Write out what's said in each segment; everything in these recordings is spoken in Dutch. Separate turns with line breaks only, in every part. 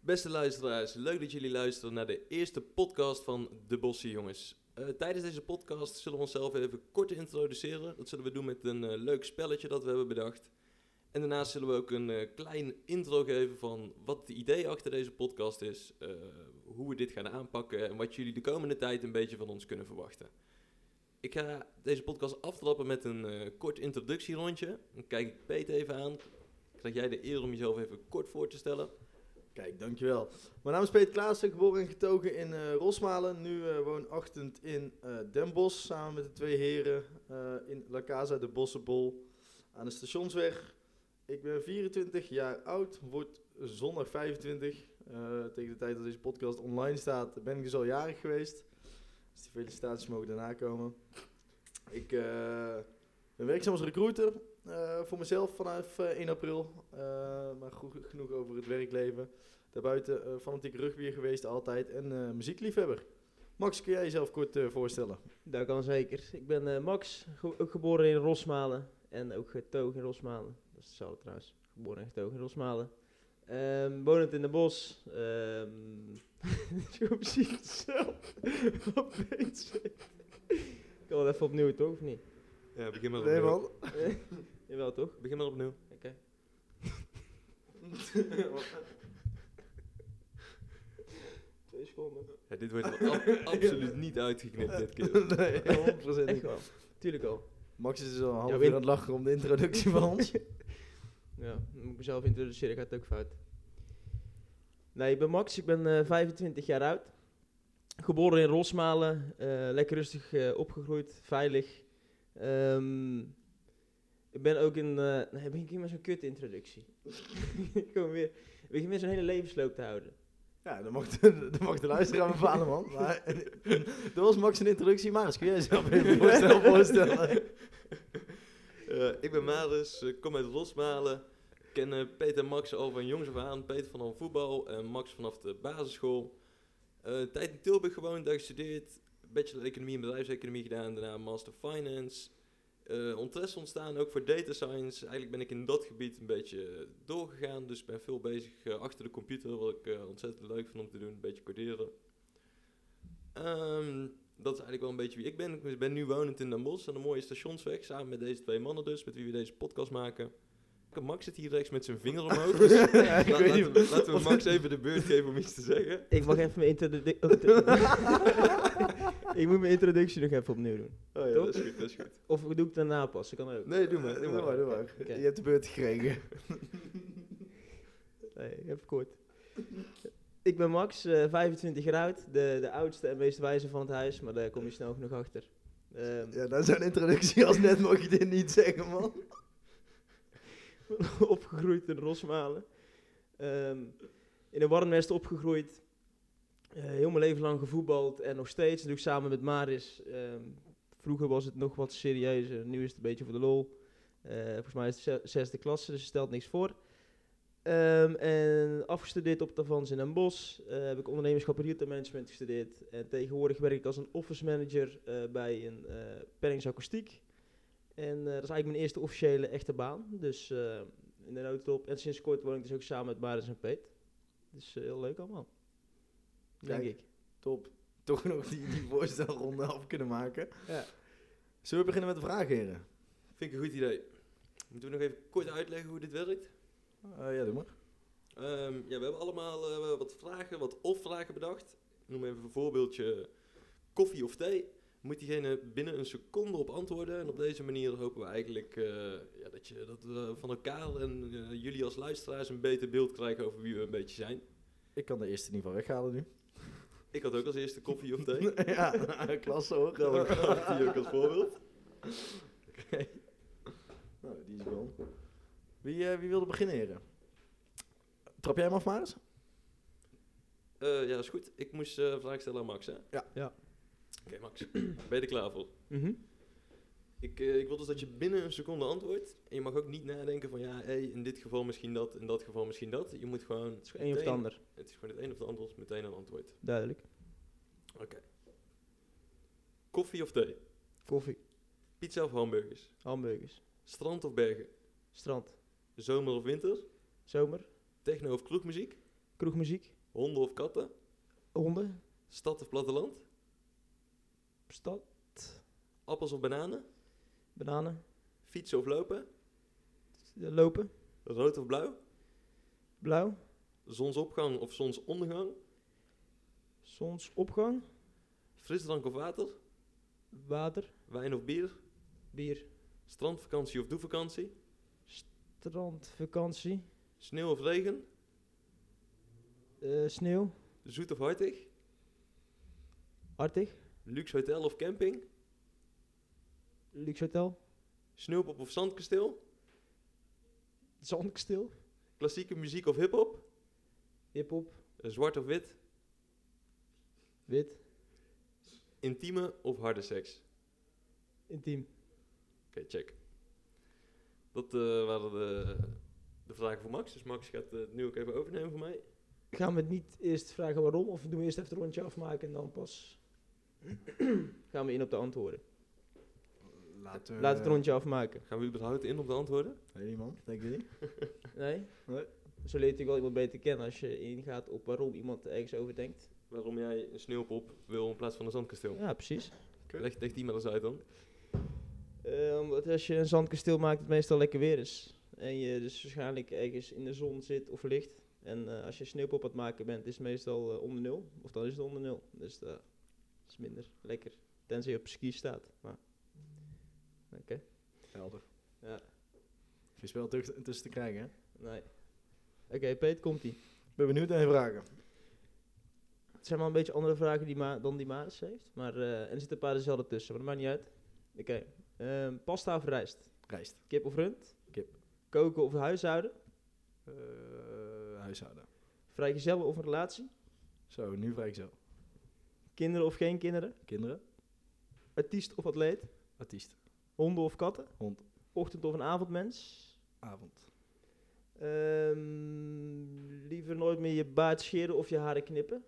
Beste luisteraars, leuk dat jullie luisteren naar de eerste podcast van De Bosse Jongens. Eh, tijdens deze podcast zullen we onszelf even kort introduceren. Dat zullen we doen met een eh, leuk spelletje dat we hebben bedacht. En daarnaast zullen we ook een eh, klein intro geven van wat het idee achter deze podcast is, eh, hoe we dit gaan aanpakken en wat jullie de komende tijd een beetje van ons kunnen verwachten. Ik ga deze podcast aftrappen met een eh, kort introductierondje. Dan kijk ik Peet even aan. Krijg jij de eer om jezelf even kort voor te stellen?
Kijk, dankjewel. Mijn naam is Peter Klaassen, geboren en getogen in eh, Rosmalen. Nu eh, woonachtend in eh, Den Bosch, samen met de twee heren eh, in La Casa de Bossenbol aan de Stationsweg. Ik ben 24 jaar oud, word zondag 25. Eh, tegen de tijd dat deze podcast online staat, ben ik dus al jarig geweest. Dus die felicitaties mogen daarna komen. Ik eh, ben werkzaam als recruiter eh, voor mezelf vanaf eh, 1 april. Eh, maar goed, genoeg over het werkleven. Daarbuiten eh fanatiek rugbier geweest altijd en eh, muziekliefhebber. Max, kun jij jezelf kort eh, voorstellen?
Dat kan zeker. Ik ben eh, Max, ge- ook geboren in Rosmalen en ook getogen in Rosmalen. Dat is hetzelfde trouwens, geboren en getogen in Rosmalen. Ehm wonend in de bos. Ehm zo precies hetzelfde. Wat weet ze? Ik kan wel even opnieuw toch, of niet?
Ja, begin maar
Nee man.
Eh, Jawel toch?
Begin maar opnieuw.
Oké. Twee seconden.
Ja, dit wordt er ab- absoluut niet uitgeknipt dit keer.
nee, 100%
Echt
niet.
wel. Tuurlijk al.
Max is dus al een half
Ja,
uur
Wim.
aan het lachen om de introductie van ons.
Ja, dan moet ik mezelf introduceren, gaat ook fout. Nee, ik ben Max, ik ben eh, 25 jaar oud. Geboren in Rosmalen, eh, lekker rustig eh, opgegroeid, veilig. Ehm, ik ben ook in... eh nee, ben ik hier met zo'n kut introductie? ik kom weer... Ik begin weer zo'n hele levensloop te houden.
ja, dan mag, de, dan mag de luisteraar bepalen man. Maar, eh, dat was Max een introductie. Maris, kun jij jezelf even voorstellen? voorstellen? Oh,
Eh, ik ben Maris, eh, kom uit Rosmalen. Ik ken eh, Peter en Max al van jongs af aan. Peter vanaf voetbal en Max vanaf de basisschool. Eh, een tijd in Tilburg gewoond, daar gestudeerd. Bachelor Economie en Bedrijfseconomie gedaan, daarna Master Finance. Eh interesse ontstaan ook voor data science. Eigenlijk ben ik in dat gebied een beetje eh, doorgegaan. Dus ben veel bezig eh, achter de computer, wat ik eh, ontzettend leuk vind om te doen. Een beetje coderen. Ehm, dat is eigenlijk wel een beetje wie ik ben. Ik ben nu wonend in Den Bosch aan de mooie stationsweg. Samen met deze twee mannen dus, met wie we deze podcast maken. Max zit hier rechts met zijn vinger omhoog. Dus
Ja, ik
laat-
weet
laten,
niet
we, laten we Max even de beurt geven om iets te zeggen.
Ik mag even mijn introductie... ik moet mijn introductie nog even opnieuw doen.
Oh ja,
Toch?
dat is goed, dat is goed.
Of doe ik het daarna pas, dat kan ook.
Nee, doe maar, doe
Doe
maar.
maar, doe maar.
Oké.
Je hebt de beurt gekregen.
Nee, even kort. Ik ben Max, eh, 25 jaar oud, de, de oudste en meest wijze van het huis, maar daar kom je snel genoeg achter. Ehm,
Ja, na zo'n introductie als net mag je dit niet zeggen man.
opgegroeid in Rosmalen. Ehm, in een warm nest opgegroeid. Eh, heel mijn leven lang gevoetbald en nog steeds. Natuurlijk samen met Maris. Ehm, vroeger was het nog wat serieuzer, nu is het een beetje voor de lol. Eh, volgens mij is het ze- zesde klasse, dus het stelt niks voor. Ehm, en afgestudeerd op het Avans in Den Bosch. Eh, heb ik ondernemerschap en retailmanagement gestudeerd. En tegenwoordig werk ik als een office manager eh, bij een eh perringsakoestiek. En eh, dat is eigenlijk mijn eerste officiële echte baan. Dus eh, in de noodtop. En sinds kort woon ik dus ook samen met Maris en Peet. Dus eh, heel leuk allemaal. Denk
Kijk.
ik.
Top. Toch nog die, die voorstelronde af kunnen maken.
Ja.
Zullen we beginnen met de vragen, heren?
Vind ik een goed idee. Moeten we nog even kort uitleggen hoe dit werkt?
Eh, ja, doe maar.
Ehm, ja, we hebben allemaal eh, wat vragen, wat of-vragen bedacht. Ik noem even een voorbeeldje koffie of thee. Moet diegene binnen een seconde op antwoorden. En op deze manier hopen we eigenlijk eh, ja, dat, je, dat we van elkaar en eh, jullie als luisteraars een beter beeld krijgen over wie we een beetje zijn.
Ik kan de eerste niet van weghalen nu.
Ik had ook als eerste koffie of thee.
ja, klasse hoor.
Dan had ik die ook als voorbeeld.
Nou, die is wel. Wie, eh, wie wilde beginnen, heren? Trap jij hem af, Maris?
Eh, ja, is goed. Ik moest eh vragen stellen aan Max, hè?
Ja.
Ja.
Oké, Max. Ben je er klaar voor?
Mhm.
Ik, eh, ik wil dus dat je binnen een seconde antwoordt. En je mag ook niet nadenken van ja, hey, in dit geval misschien dat, in dat geval misschien dat. Je moet gewoon. Het
Een of het ander.
Het is gewoon het een of het ander, is meteen een antwoord.
Duidelijk.
Koffie of thee?
Koffie,
Pizza of hamburgers?
hamburgers,
Strand of bergen?
strand,
Zomer of winter?
zomer,
Techno of kroegmuziek?
kroegmuziek,
Honden of katten?
Honden,
Stad of platteland?
stad,
Appels of bananen?
bananen,
Fietsen of lopen?
eh, lopen,
Rood of blauw?
blauw,
Zonsopgang of zonsondergang?
zonsopgang,
Frisdrank of water?
water,
Wijn of bier?
bier,
Strandvakantie of doevakantie?
strand, vakantie,
Sneeuw of regen?
eh, sneeuw,
Zoet of hartig?
hartig,
Luxe hotel of camping?
luxe hotel,
Sneeuwpop of zandkasteel?
zandkasteel,
Klassieke muziek of hiphop?
hiphop,
Eh, Zwart of wit?
wit,
Intieme of harde seks?
intiem.
Oké, check. Dat eh, waren de, de vragen voor Max. Dus Max gaat eh, het nu ook even overnemen voor mij.
Gaan we het niet eerst vragen waarom, of doen we eerst even een rondje afmaken en dan pas gaan we in op de antwoorden.
Later.
Laat het rondje afmaken.
Gaan we überhaupt in op de antwoorden?
Weet niet, man. Denk je niet?
Nee?
Nee.
Zo leer je natuurlijk wel iemand beter kennen als je ingaat op waarom iemand ergens over denkt.
Waarom jij een sneeuwpop wil in plaats van een zandkasteel?
Ja, precies.
Leg, leg die maar eens uit dan.
Eh, Omdat als je een zandkasteel maakt, het meestal lekker weer is. En je dus waarschijnlijk ergens in de zon zit of ligt. En eh, als je sneeuwpop aan het maken bent, is het meestal eh, onder nul. Of dan is het onder nul. Dus dat is minder lekker. Tenzij je op ski staat. Maar
Helder.
Ja.
Vies wel tuch- tussen te krijgen, hè?
nee. Oké, Peet, komt-ie.
Ben benieuwd naar je vragen.
Het zijn wel een beetje andere vragen die Ma- dan die Maris heeft. Maar, eh, en er zitten een paar dezelfde tussen, maar dat maakt niet uit. Oké. ehm, pasta of rijst?
Rijst.
Kip of rund?
Kip.
Koken of huishouden?
Eh, huishouden.
Vrijgezel of een relatie?
Zo, nu vraag ik zo.
Kinderen of geen kinderen?
Kinderen?
Artiest of atleet?
Artiest.
Honden of katten?
Hond.
Ochtend of een avondmens?
Avond.
Ehm, liever nooit meer je baard scheren of je haren knippen?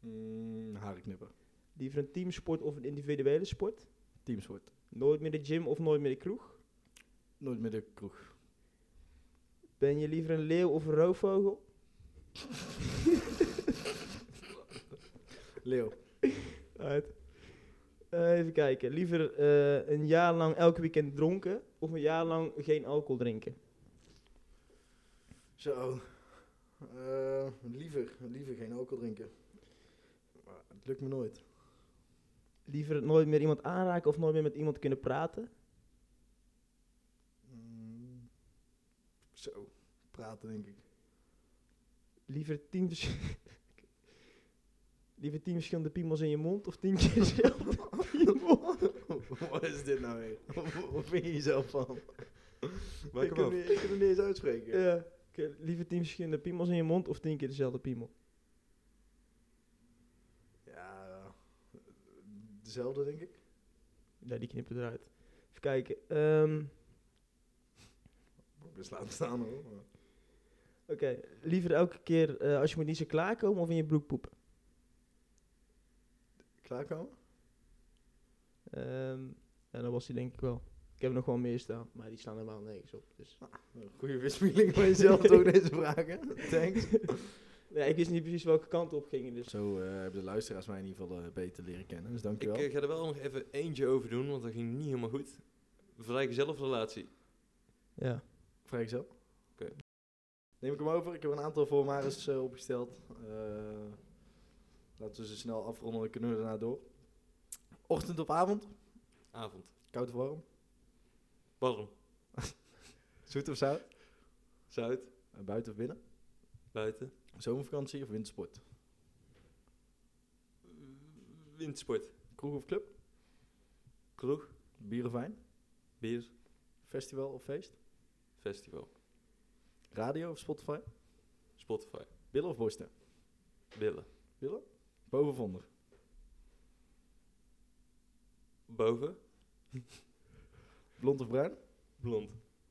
Mm, haren knippen.
Liever een teamsport of een individuele sport?
Teamsport.
Nooit meer de gym of nooit meer de kroeg?
Nooit meer de kroeg.
Ben je liever een leeuw of een roofvogel?
Leo.
Uit. Eh, even kijken. Liever eh, een jaar lang elke weekend dronken of een jaar lang geen alcohol drinken?
Zo. Eh, liever, liever geen alcohol drinken. Maar het lukt me nooit.
Liever nooit meer iemand aanraken of nooit meer met iemand kunnen praten?
Mm, zo. Praten, denk ik.
Liever tien, vers- liever tien verschillende piemels in je mond of tien keer dezelfde piemel?
Wat is dit nou weer? Wat vind je jezelf van?
Maak hem
ik, kan
af.
niet, ik kan het niet eens uitspreken.
Ja. Oké, Liever tien verschillende piemels in je mond of tien keer dezelfde piemel?
Ja, dezelfde denk ik.
Nee, die knippen eruit. Even kijken. Ehm,
Best laten staan hoor. maar-
Oké, liever elke keer eh, als je moet niet zo klaarkomen of in je broek poepen?
Klaarkomen?
Ehm ja, dat was hij denk ik wel. Ik heb er nog wel meer staan, maar die staan helemaal nergens op. Dus.
Goede weerspiegeling van jezelf door deze vragen. Thanks.
Ja, ik wist niet precies welke kant op gingen, dus
Zo eh, hebben de luisteraars mij in ieder geval eh, beter leren kennen, dus
Ik
dankjewel.
eh, ga er wel nog even eentje over doen, want dat ging niet helemaal goed. Vrijgezellenrelatie.
ja.
Vraag ik zo.
Oké.
Neem ik hem over. Ik heb een aantal formaris eh, opgesteld. Eh, laten we ze snel afronden, dan kunnen we daarna door. Ochtend op avond,
Avond.
koud of warm,
Warm.
zoet of zout,
Zuid.
Eh, buiten of binnen,
Buiten.
zomervakantie of wintersport,
Windsport.
kroeg of club,
Kroeg.
bier of wijn,
Bier.
festival of feest,
Festival.
radio of Spotify,
Spotify.
billen of borsten,
Billen.
boven of onder,
Boven.
blond of bruin,
Blond.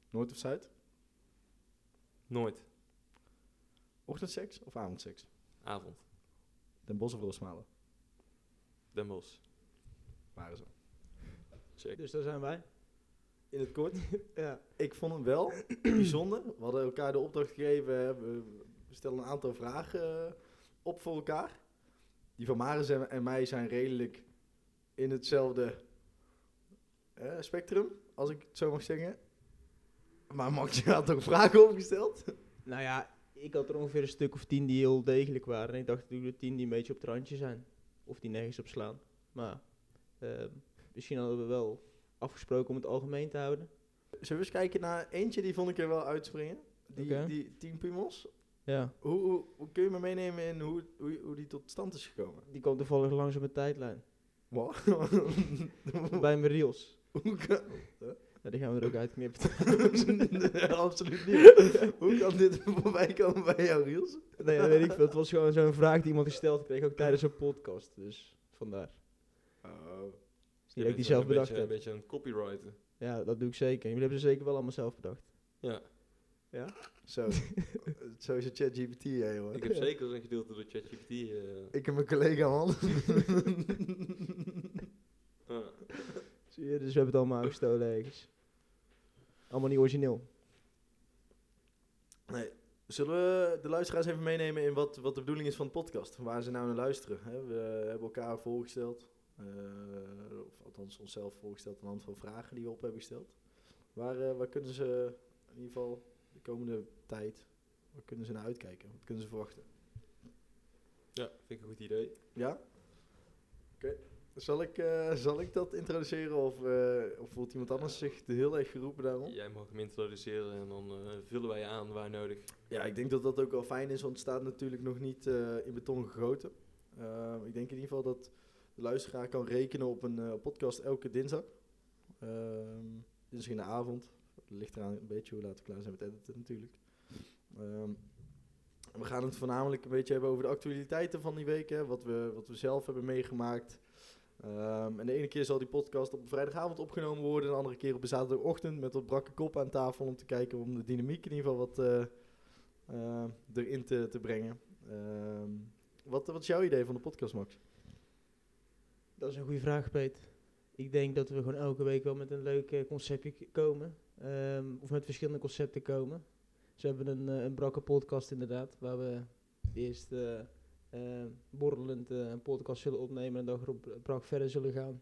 noord of zuid,
Nooit.
ochtendseks of avondseks,
Avond.
Den Bosch of Rosmalen,
Den Bosch.
waren ze.
Check.
Dus daar zijn wij.
In het kort.
Ja.
Ik vond hem wel bijzonder. We hadden elkaar de opdracht gegeven. hè, We, We stellen een aantal vragen eh, op voor elkaar. Die van Maris en, en mij zijn redelijk in hetzelfde eh, spectrum, als ik het zo mag zeggen. Maar Max je had ook vragen opgesteld.
Nou ja, ik had er ongeveer een stuk of tien die heel degelijk waren. En ik dacht, ik doe er tien die een beetje op het randje zijn. Of die nergens op slaan. Maar ehm, misschien hadden we wel afgesproken om het algemeen te houden.
Zullen we eens kijken naar eentje die vond ik er wel uitspringen? Die,
Oké.
die Team Pumos.
Ja.
Hoe, hoe, hoe kun je me meenemen in hoe, hoe, hoe die tot stand is gekomen?
Die kwam toevallig langs op mijn tijdlijn.
Wat?
Bij mijn reels.
hoe kan...
Ja, die gaan we er ook uitknippen.
Nee, absoluut niet. hoe kan dit voorbij komen bij jou, Riels?
nee, dat weet ik veel. Het was gewoon zo'n vraag die iemand gesteld kreeg, ook tijdens een podcast. Dus vandaar.
Oh.
Die ook die zelf bedacht
Een
hebt.
beetje aan het copyrighten.
Ja, dat doe ik zeker. Jullie hebben ze zeker wel allemaal zelf bedacht.
Ja,
Zo. zo is het ChatGPT, hè, jongen.
ik heb zeker een gedeelte door ChatGPT. eh,
Ik en mijn collega, man.
ja.
Zie je, dus we hebben het allemaal gestolen ergens. Allemaal niet origineel.
Nee. Zullen we de luisteraars even meenemen in wat, wat de bedoeling is van de podcast? Waar ze nou naar luisteren? Hè? We hebben elkaar voorgesteld, eh, of althans onszelf voorgesteld, aan de hand van vragen die we op hebben gesteld. Waar, eh, waar kunnen ze in ieder geval de komende tijd, waar kunnen ze naar uitkijken? Wat kunnen ze verwachten?
ja, vind ik een goed idee.
Ja? Oké. Zal, ik, eh, zal ik dat introduceren of, eh, of voelt iemand anders zich heel erg geroepen daarom?
Jij mag hem introduceren en dan eh, vullen wij aan waar nodig.
Ja, ik denk dat dat ook wel fijn is, want het staat natuurlijk nog niet eh, in beton gegoten. Eh, ik denk in ieder geval dat de luisteraar kan rekenen op een eh, podcast elke dinsdag. Ehm dinsdag in de avond. Ligt eraan een beetje hoe laat we klaar zijn met editen natuurlijk. Ehm, we gaan het voornamelijk een beetje hebben over de actualiteiten van die week. Hè, wat, we, wat we zelf hebben meegemaakt. Ehm, en de ene keer zal die podcast op een vrijdagavond opgenomen worden. En de andere keer op een zaterdagochtend met wat brakke kop aan tafel. Om te kijken om de dynamiek in ieder geval wat eh, eh, erin te, te brengen. Ehm, wat, wat is jouw idee van de podcast, Max?
Dat is een goede vraag, Peet. Ik denk dat we gewoon elke week wel met een leuk eh, conceptje k- komen. Ehm, of met verschillende concepten komen. Ze hebben een, eh, een brakke podcast inderdaad, waar we eerst eh, eh, borrelend eh, een podcast zullen opnemen en dan erop brak verder zullen gaan.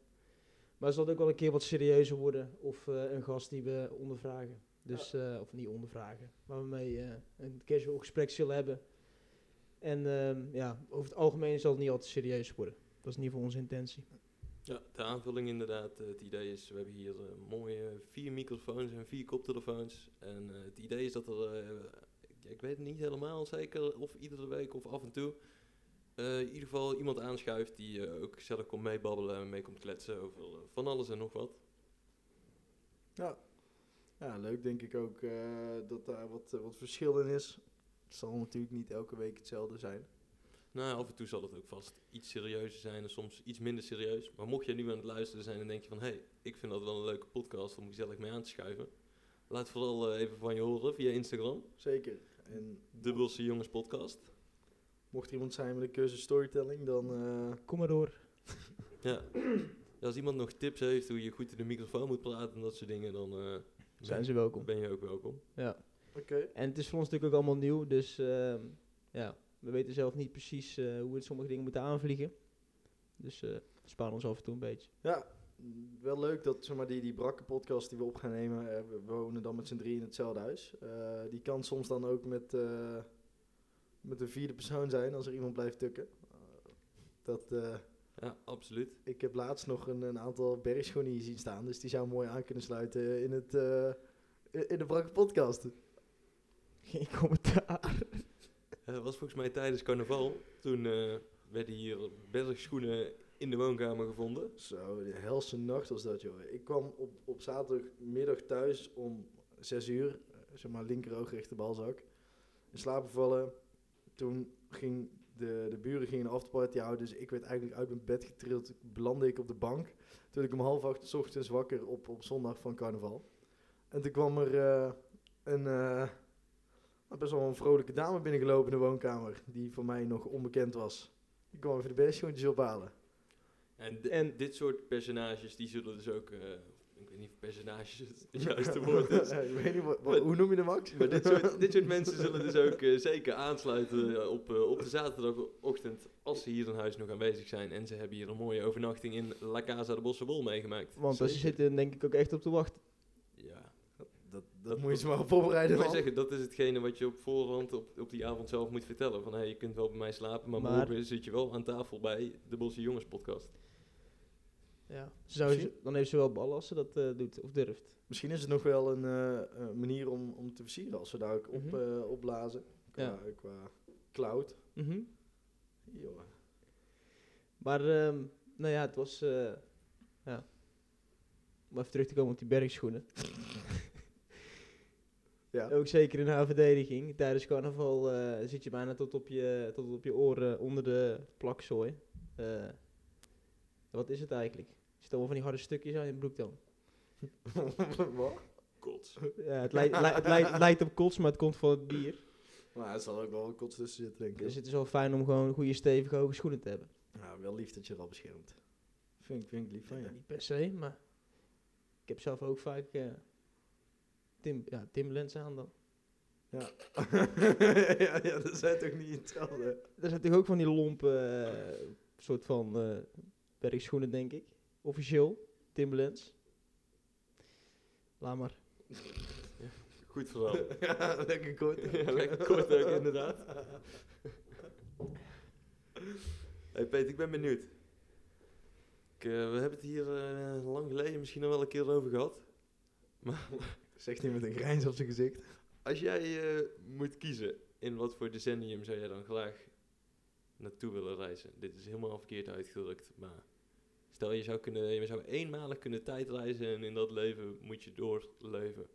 Maar het zal ook wel een keer wat serieuzer worden of eh, een gast die we ondervragen. Dus, eh, of niet ondervragen, waar we mee eh, een casual gesprek zullen hebben. En ehm, ja, over het algemeen zal het niet altijd serieus worden. Dat is in ieder geval onze intentie.
Ja, de aanvulling inderdaad. Eh, het idee is, we hebben hier eh, mooie vier microfoons en vier koptelefoons. En eh, het idee is dat er, eh, ik- ik weet het niet helemaal zeker of iedere week of af en toe, eh, in ieder geval iemand aanschuift die eh, ook zelf komt meebabbelen en mee komt kletsen over eh, van alles en nog wat.
Ja. ja, leuk denk ik ook eh, dat daar wat, eh, wat verschil in is. Het zal natuurlijk niet elke week hetzelfde zijn.
Nou, ja, af en toe zal het ook vast iets serieuzer zijn en soms iets minder serieus. Maar mocht jij nu aan het luisteren zijn en denk je van... hé, hey, ik vind dat wel een leuke podcast om gezellig mee aan te schuiven... laat vooral eh, even van je horen via Instagram.
Zeker. En
Dubbelse Jongens Podcast.
mocht er iemand zijn met een cursus storytelling, dan... eh,
Kom maar door.
Ja. Als iemand nog tips heeft hoe je goed in de microfoon moet praten en dat soort dingen... dan eh,
Zijn ze welkom.
ben je ook welkom.
Ja.
Oké.
En het is voor ons natuurlijk ook allemaal nieuw, dus ehm, ja, we weten zelf niet precies eh, hoe we sommige dingen moeten aanvliegen. Dus eh we sparen ons af en toe een beetje.
Ja, mm, wel leuk dat zeg maar, die, die brakke podcast die we op gaan nemen, eh, we wonen dan met z'n drie in hetzelfde huis. Eh, die kan soms dan ook met, eh, met een vierde persoon zijn als er iemand blijft tukken. Eh, dat, eh,
Ja, absoluut.
ik heb laatst nog een, een aantal bergschoenen hier zien staan, dus die zou mooi aan kunnen sluiten in, het, eh, in- in de brakke podcast.
Geen commentaar.
Eh, Het was volgens mij tijdens carnaval. Toen eh, werden hier bergschoenen in de woonkamer gevonden.
Zo, de helse nacht was dat, joh. Ik kwam op, op zaterdagmiddag thuis om 6 uur, eh, zeg maar linkeroog, rechterbalzak, in slaap gevallen. Toen ging de, de buren gingen een afterparty houden, dus ik werd eigenlijk uit mijn bed getrild. Belandde ik op de bank. Toen ik om half acht 's ochtends wakker op, op zondag van carnaval. En toen kwam er eh, een eh, nou, best wel een vrolijke dame binnengelopen in de woonkamer, die voor mij nog onbekend was. Die kwam even de bergschoentjes ophalen.
En, di-
En-
dit soort personages die zullen dus ook eh, ik weet niet of percentage het juiste woord is.
ik weet niet, wat, wat-
Maar-
hoe noem je de Max?
Maar dit soort, dit soort mensen zullen dus ook eh, zeker aansluiten eh, op, eh, op de zaterdagochtend als ze hier in huis nog aanwezig zijn. En ze hebben hier een mooie overnachting in La Casa de Bossebol meegemaakt.
Want ze
Zeker.
zitten denk ik ook echt op te wachten.
Ja,
dat, dat moet je ze maar op voorbereiden.
ik wil
man.
zeggen, dat is hetgene wat je op voorhand op, op die avond zelf moet vertellen. Van hey, je kunt wel bij mij slapen, maar,
Maar-
morgen zit je wel aan tafel bij de Bosse Jongens podcast.
Ja. Ze zou,
Misschien-
dan heeft ze wel ballen als ze dat eh, doet of durft.
Misschien is het nog wel een eh, eh, manier om, om te versieren als we daar ook op,
Mhm.
eh, opblazen. Qua,
Ja.
qua cloud.
Mhm.
Joh.
Maar ehm, nou ja, het was... eh, ja. Om even terug te komen op die bergschoenen.
Ja.
Ook zeker in haar verdediging. Tijdens carnaval eh, zit je bijna tot op je, tot op je oren onder de plakzooi. Eh, wat is het eigenlijk? Er zitten allemaal van die harde stukjes aan je broek dan.
Wat?
Kots.
Ja, het, lijkt, lij- het lijkt- het lijkt op kots, maar het komt van het bier.
Maar er zal ook wel een kots tussen zitten, denk ik.
Dus het is wel fijn om gewoon goede, stevige, hoge schoenen te hebben.
Nou, wel lief dat je er al beschermt. Vind ik, vind ik lief van
Oh, Ja,
je.
niet per se, maar ik heb zelf ook vaak eh tim, ja, Timberlands aan dan.
Ja. ja, ja, dat zijn toch niet hetzelfde?
Er zijn natuurlijk ook van die lompe eh, soort van eh werkschoenen, denk ik. Officieel, Timberlands. Laat maar.
Goed verhaal.
ja, lekker kort.
Ja, lekker kort ook, inderdaad. Hey Peter, ik ben benieuwd. Ik, eh, we hebben het hier eh, lang geleden misschien al wel een keer over gehad.
Zegt hij met een grijns op zijn gezicht.
Als jij eh, moet kiezen, in wat voor decennium zou jij dan graag naartoe willen reizen? Dit is helemaal verkeerd uitgedrukt, maar stel je zou, kunnen, je zou eenmalig kunnen tijdreizen en in dat leven moet je doorleven.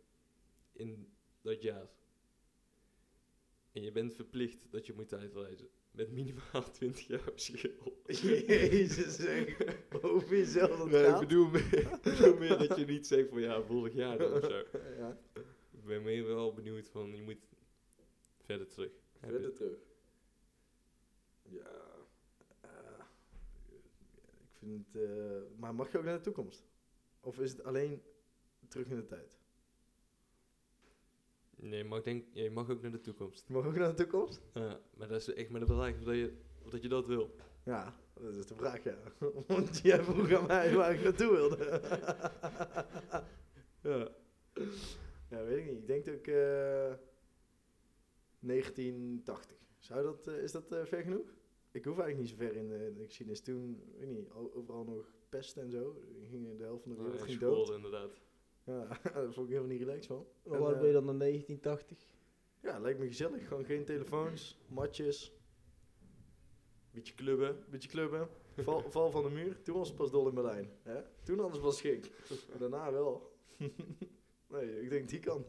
In dat jaar. En je bent verplicht dat je moet tijdreizen. Met minimaal 20 jaar verschil.
Jezus, zeg. Over jezelf dat
Nee, ik
gaat.
bedoel meer, ik bedoel meer dat je niet zegt van ja, vorig jaar dan of zo.
Ja,
Ik ben meer wel benieuwd van, je moet verder terug. Heb je-
verder terug. Ja. eh, ik vind het... eh, maar mag je ook naar de toekomst? Of is het alleen terug in de tijd?
Nee, je mag, denk, ja, je mag ook naar de toekomst.
Mag ook naar de toekomst?
Ja, maar dat is echt maar de vraag of dat je, of dat, je dat wil.
Ja, dat is de vraag, ja. Want jij vroeg aan mij waar ik naartoe wilde.
Ja.
ja, weet ik niet. Ik denk dat ik... eh, 1980. Zou dat, eh, is dat eh, ver genoeg? Ik hoef eigenlijk niet zo ver in de, de geschiedenis. Toen, weet niet, o- overal nog pest en zo. Ging de helft van de wereld
Oh, Ja,
ging
school
dood.
inderdaad.
Ja, daar vond ik helemaal niet relaxed van.
Maar
En,
waar
eh,
ben je dan in 1980?
Ja, lijkt me gezellig. Gewoon geen telefoons, matjes,
Beetje clubben.
beetje clubben. Val, val van de muur. Toen was het pas dol in Berlijn. Hè? Toen alles was gek. Maar Daarna wel. nee, ik denk die kant.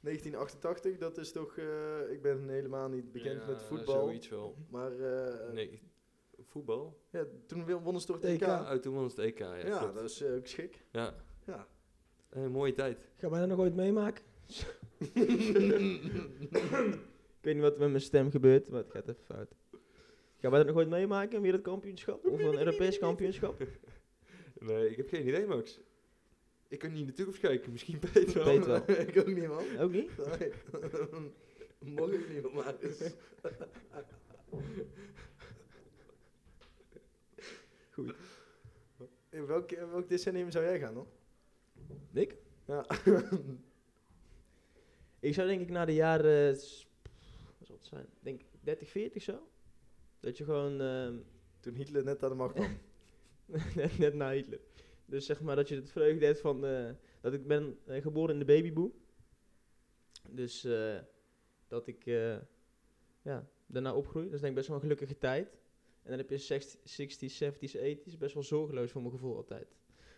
1988, dat is toch... eh, ik ben helemaal niet bekend
Ja,
met voetbal.
Zoiets wel.
Maar eh,
Nee, ik- voetbal?
ja, toen won- wonnen ze toch het
EK.
EK.
Ja,
Ja,
oh, toen was het EK. Ja, klopt.
dat is eh, ook schik.
ja.
Ja.
Eh, mooie tijd.
Gaan wij dat nog ooit meemaken? ik weet niet wat er met mijn stem gebeurt, maar het gaat even fout. Gaan wij dat nog ooit meemaken, een wereldkampioenschap? Of een Europees kampioenschap?
Nee, ik heb geen idee, Max. Ik kan niet natuurlijk kijken, misschien beter wel.
Peter wel.
ik ook niet, man.
Ook niet?
Nee. Mocht ik niet, meer, maar... is-
Goed.
In welk, in welk decennium zou jij gaan dan?
Nick?
Ja.
Ik zou denk ik na de jaren, eh, s- wat zal het zijn, Ik denk 30, 40 zo. Dat je gewoon, ehm,
Toen Hitler net aan de macht kwam.
net, net na Hitler. Dus zeg maar dat je het vreugde hebt van, eh, dat ik ben eh, geboren in de babyboe. Dus eh, dat ik eh, ja, daarna opgroei. Dat is denk ik best wel een gelukkige tijd. En dan heb je 60 60s, 70s, 80s, best wel zorgeloos voor mijn gevoel altijd.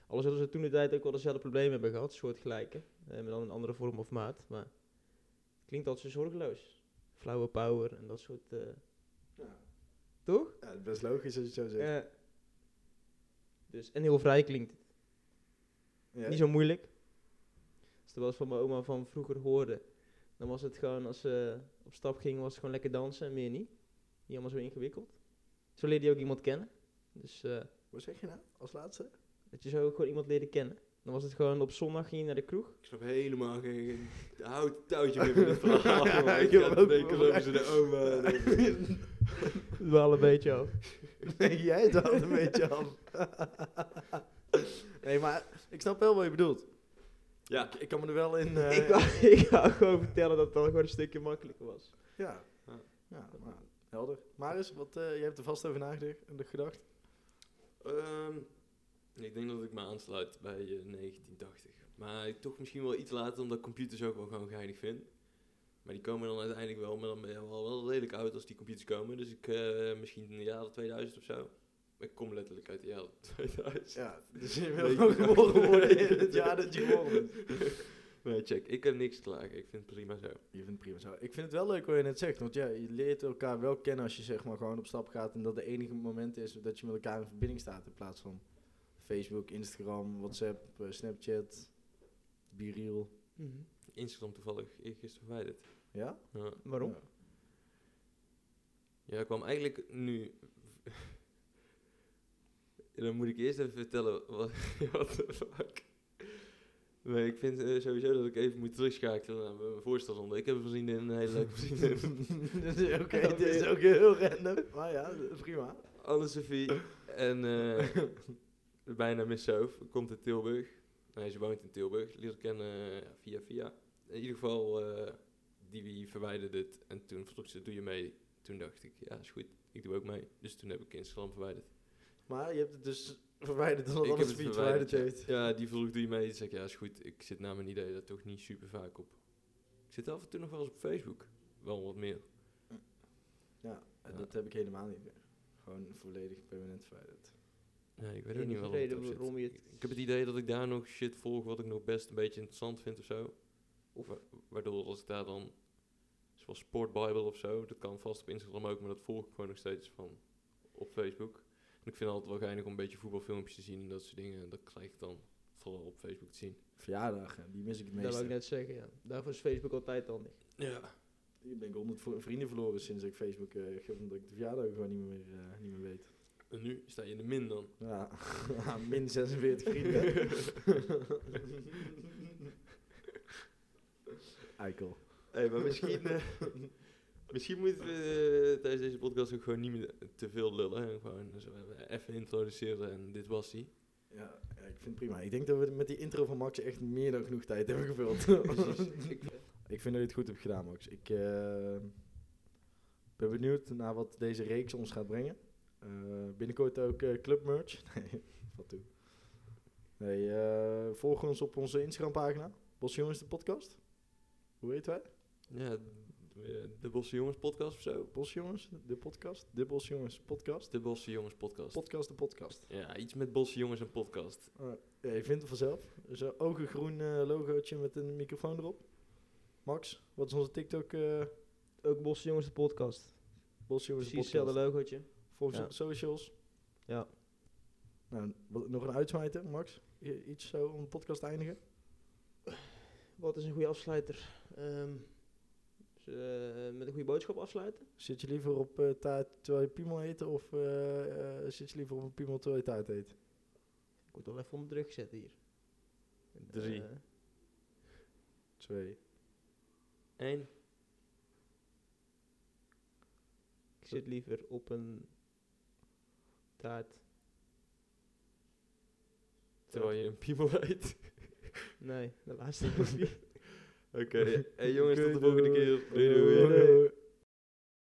Alles zullen ze toen de tijd ook wel dezelfde problemen hebben gehad, soortgelijke. Eh met dan een andere vorm of maat, maar het klinkt altijd zo zorgeloos. Flauwe power en dat soort... eh,
Ja.
Toch?
Ja, het is best logisch als je het zo zegt.
eh, dus, en heel vrij klinkt het.
Ja.
Niet zo moeilijk. Als ik wel eens van mijn oma van vroeger hoorde, dan was het gewoon als ze op stap ging, was het gewoon lekker dansen en meer niet. Niet allemaal zo ingewikkeld. Zo leerde je ook iemand kennen. Dus eh,
Wat zeg je nou als laatste?
Dat je zo ook gewoon iemand leerde kennen. Dan was het gewoon op zondag ging je naar de kroeg.
Ik snap helemaal geen geen hout touwtje meer van het verhaal.
Ja,
jongen.
ik
ik
heb
had
ook
twee keer over zijn oma.
Wel een beetje af.
Nee, jij daalt een beetje af. nee, maar ik snap wel wat je bedoelt.
Ja,
Ik kan me er wel in... eh,
ik, wou, ik wou gewoon vertellen dat het dan gewoon een stukje makkelijker was.
Ja.
Ja.
ja maar, helder. Maris, wat, eh, jij hebt er vast over nagedacht. gedacht.
Ehm, ik denk dat ik me aansluit bij eh, 1980. Maar ik toch misschien wel iets later, omdat ik computers ook wel gewoon geinig vind. Maar die komen dan uiteindelijk wel, maar dan ben je al wel redelijk oud als die computers komen. Dus ik eh, misschien in de jaren 2000 of zo. Ik kom letterlijk uit de jaren 2000.
Ja, dus je
Nee,
wil ook
ik-
geboren worden in het jaar dat je geboren bent.
Nee, check. Ik heb niks te klagen. Ik vind het prima zo.
Je vindt het prima zo. Ik vind het wel leuk wat je net zegt. Want ja, je leert elkaar wel kennen als je zeg maar gewoon op stap gaat. En dat de enige moment is dat je met elkaar in verbinding staat. In plaats van Facebook, Instagram, WhatsApp, eh, Snapchat, Bireel.
Mhm.
Instagram toevallig eergisteren verwijderd.
Ja?
Ja.
Waarom?
Ja.
Ja, ik kwam eigenlijk nu. En dan moet ik eerst even vertellen wat. What the fuck. Nee, ik vind eh, sowieso dat ik even moet terugschakelen naar mijn voorstelronde. Ik heb een vriendin, een hele leuke vriendin.
Dit is- Oké, dit is ook heel random. Maar ja, prima.
Anne-Sophie. En eh, bijna Missoof. Komt uit Tilburg. Nee, ze woont in Tilburg. Leerde kennen eh, via via. In ieder geval, eh, die verwijderde het. En toen vroeg ze, doe je mee? Toen dacht ik, ja, is goed. Ik doe ook mee. Dus toen heb ik Instagram verwijderd.
Maar je hebt het dus verwijderd omdat
Ik heb
alles
het
fiets
verwijderd,
verwijderd heeft.
Ja, die vroeg doe je mee. Ik zeg ja, is goed. Ik zit naar mijn idee daar toch niet super vaak op. Ik zit af en toe nog wel eens op Facebook. Wel wat meer.
Ja, en
Ja.
dat heb ik helemaal niet meer. Gewoon volledig permanent verwijderd.
Nee, ik weet ook
Enige
niet waarom,
reden
het op zit.
waarom je het-
Ik heb het idee dat ik daar nog shit volg wat ik nog best een beetje interessant vind of zo. Of wa- waardoor als ik daar dan, zoals Sportbible of zo, dat kan vast op Instagram ook, maar dat volg ik gewoon nog steeds van op Facebook. En ik vind het altijd wel geinig om een beetje voetbalfilmpjes te zien en dat soort dingen. En dat krijg ik dan vooral op Facebook te zien.
Verjaardagen, die mis ik het
Dat
meest.
wou ik net zeggen, ja. Daarvoor is Facebook altijd handig.
Ja.
Ik ben ik honderd vro- vrienden verloren sinds ik Facebook eh geef, omdat ik de verjaardag gewoon niet meer, eh, niet meer weet.
En nu sta je in de min dan.
Ja, min 46 vrienden. Eikel.
Hey, maar misschien, eh, misschien moeten we eh, tijdens deze podcast ook gewoon niet meer te veel lullen. En gewoon zo even introduceren en dit was hij.
Ja, ja, ik vind het prima. Ik denk dat we met die intro van Max echt meer dan genoeg tijd hebben gevuld. ik vind dat je het goed hebt gedaan, Max. Ik eh, ben benieuwd naar wat deze reeks ons gaat brengen. Eh, binnenkort ook eh club merch. Nee, wat toe. Nee, eh, volg ons op onze Instagram-pagina. Bos Jongens de podcast. Hoe heet wij?
Ja, d- eh, de Bosse Jongens podcast of zo.
Bos Jongens de podcast. De Bos Jongens podcast.
De Bosse Jongens podcast.
Podcast de podcast.
Ja, iets met Bosse Jongens en podcast.
Eh, ja, je vindt het vanzelf. Er is eh, ook een groen eh, logootje met een microfoon erop. Max, wat is onze TikTok? eh
Ook Bosse Jongens de podcast.
Bos Jongens de
Precies
podcast.
hetzelfde logootje.
Volg ons
Ja.
op de socials.
Ja.
Nou, wat- nog een uitsmijter, Max? I- Iets zo om de podcast te eindigen?
Wat is een goede afsluiter? Ehm, dus, eh, met een goede boodschap afsluiten?
Zit je liever op eh, taart terwijl je piemel eet of eh, eh, zit je liever op een piemel terwijl je taart eet?
Ik moet wel even onder druk zetten hier.
Drie.
Eh,
Twee.
Eén.
ik zit liever op een taart.
Terwijl je een piemel eet.
Nee, de laatste.
Oké. Hey jongens, tot de volgende keer. Doei doei.
Doei.